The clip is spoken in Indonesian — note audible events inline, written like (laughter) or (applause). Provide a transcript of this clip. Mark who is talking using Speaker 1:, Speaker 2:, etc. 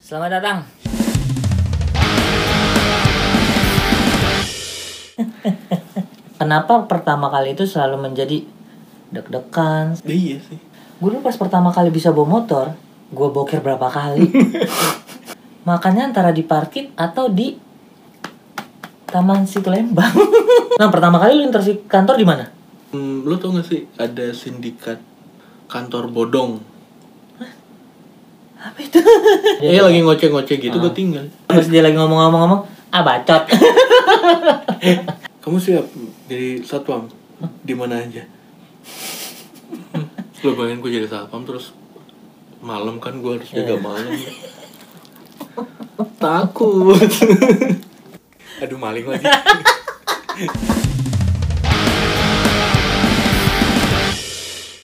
Speaker 1: Selamat datang. Kenapa pertama kali itu selalu menjadi deg-degan?
Speaker 2: Iya sih.
Speaker 1: Gue dulu pas pertama kali bisa bawa motor, gue boker berapa (laughs) kali. Makannya antara di parkir atau di Taman Situ Lembang. (laughs) nah, pertama kali lu interview kantor di mana?
Speaker 2: Hmm, lu tau gak sih ada sindikat kantor bodong?
Speaker 1: Apa itu? (laughs) Ah.
Speaker 2: Eh lagi ngoceh-ngoceh gitu gue tinggal.
Speaker 1: Terus dia lagi ngomong-ngomong-ngomong, ah bacot.
Speaker 2: Kamu siap jadi satpam? Di mana aja? Hmm, (laughs) lu bayangin gue jadi satpam terus malam kan gue harus jaga
Speaker 1: Iya. (laughs)
Speaker 2: malam.
Speaker 1: (laughs)
Speaker 2: Takut. Aduh maling lagi.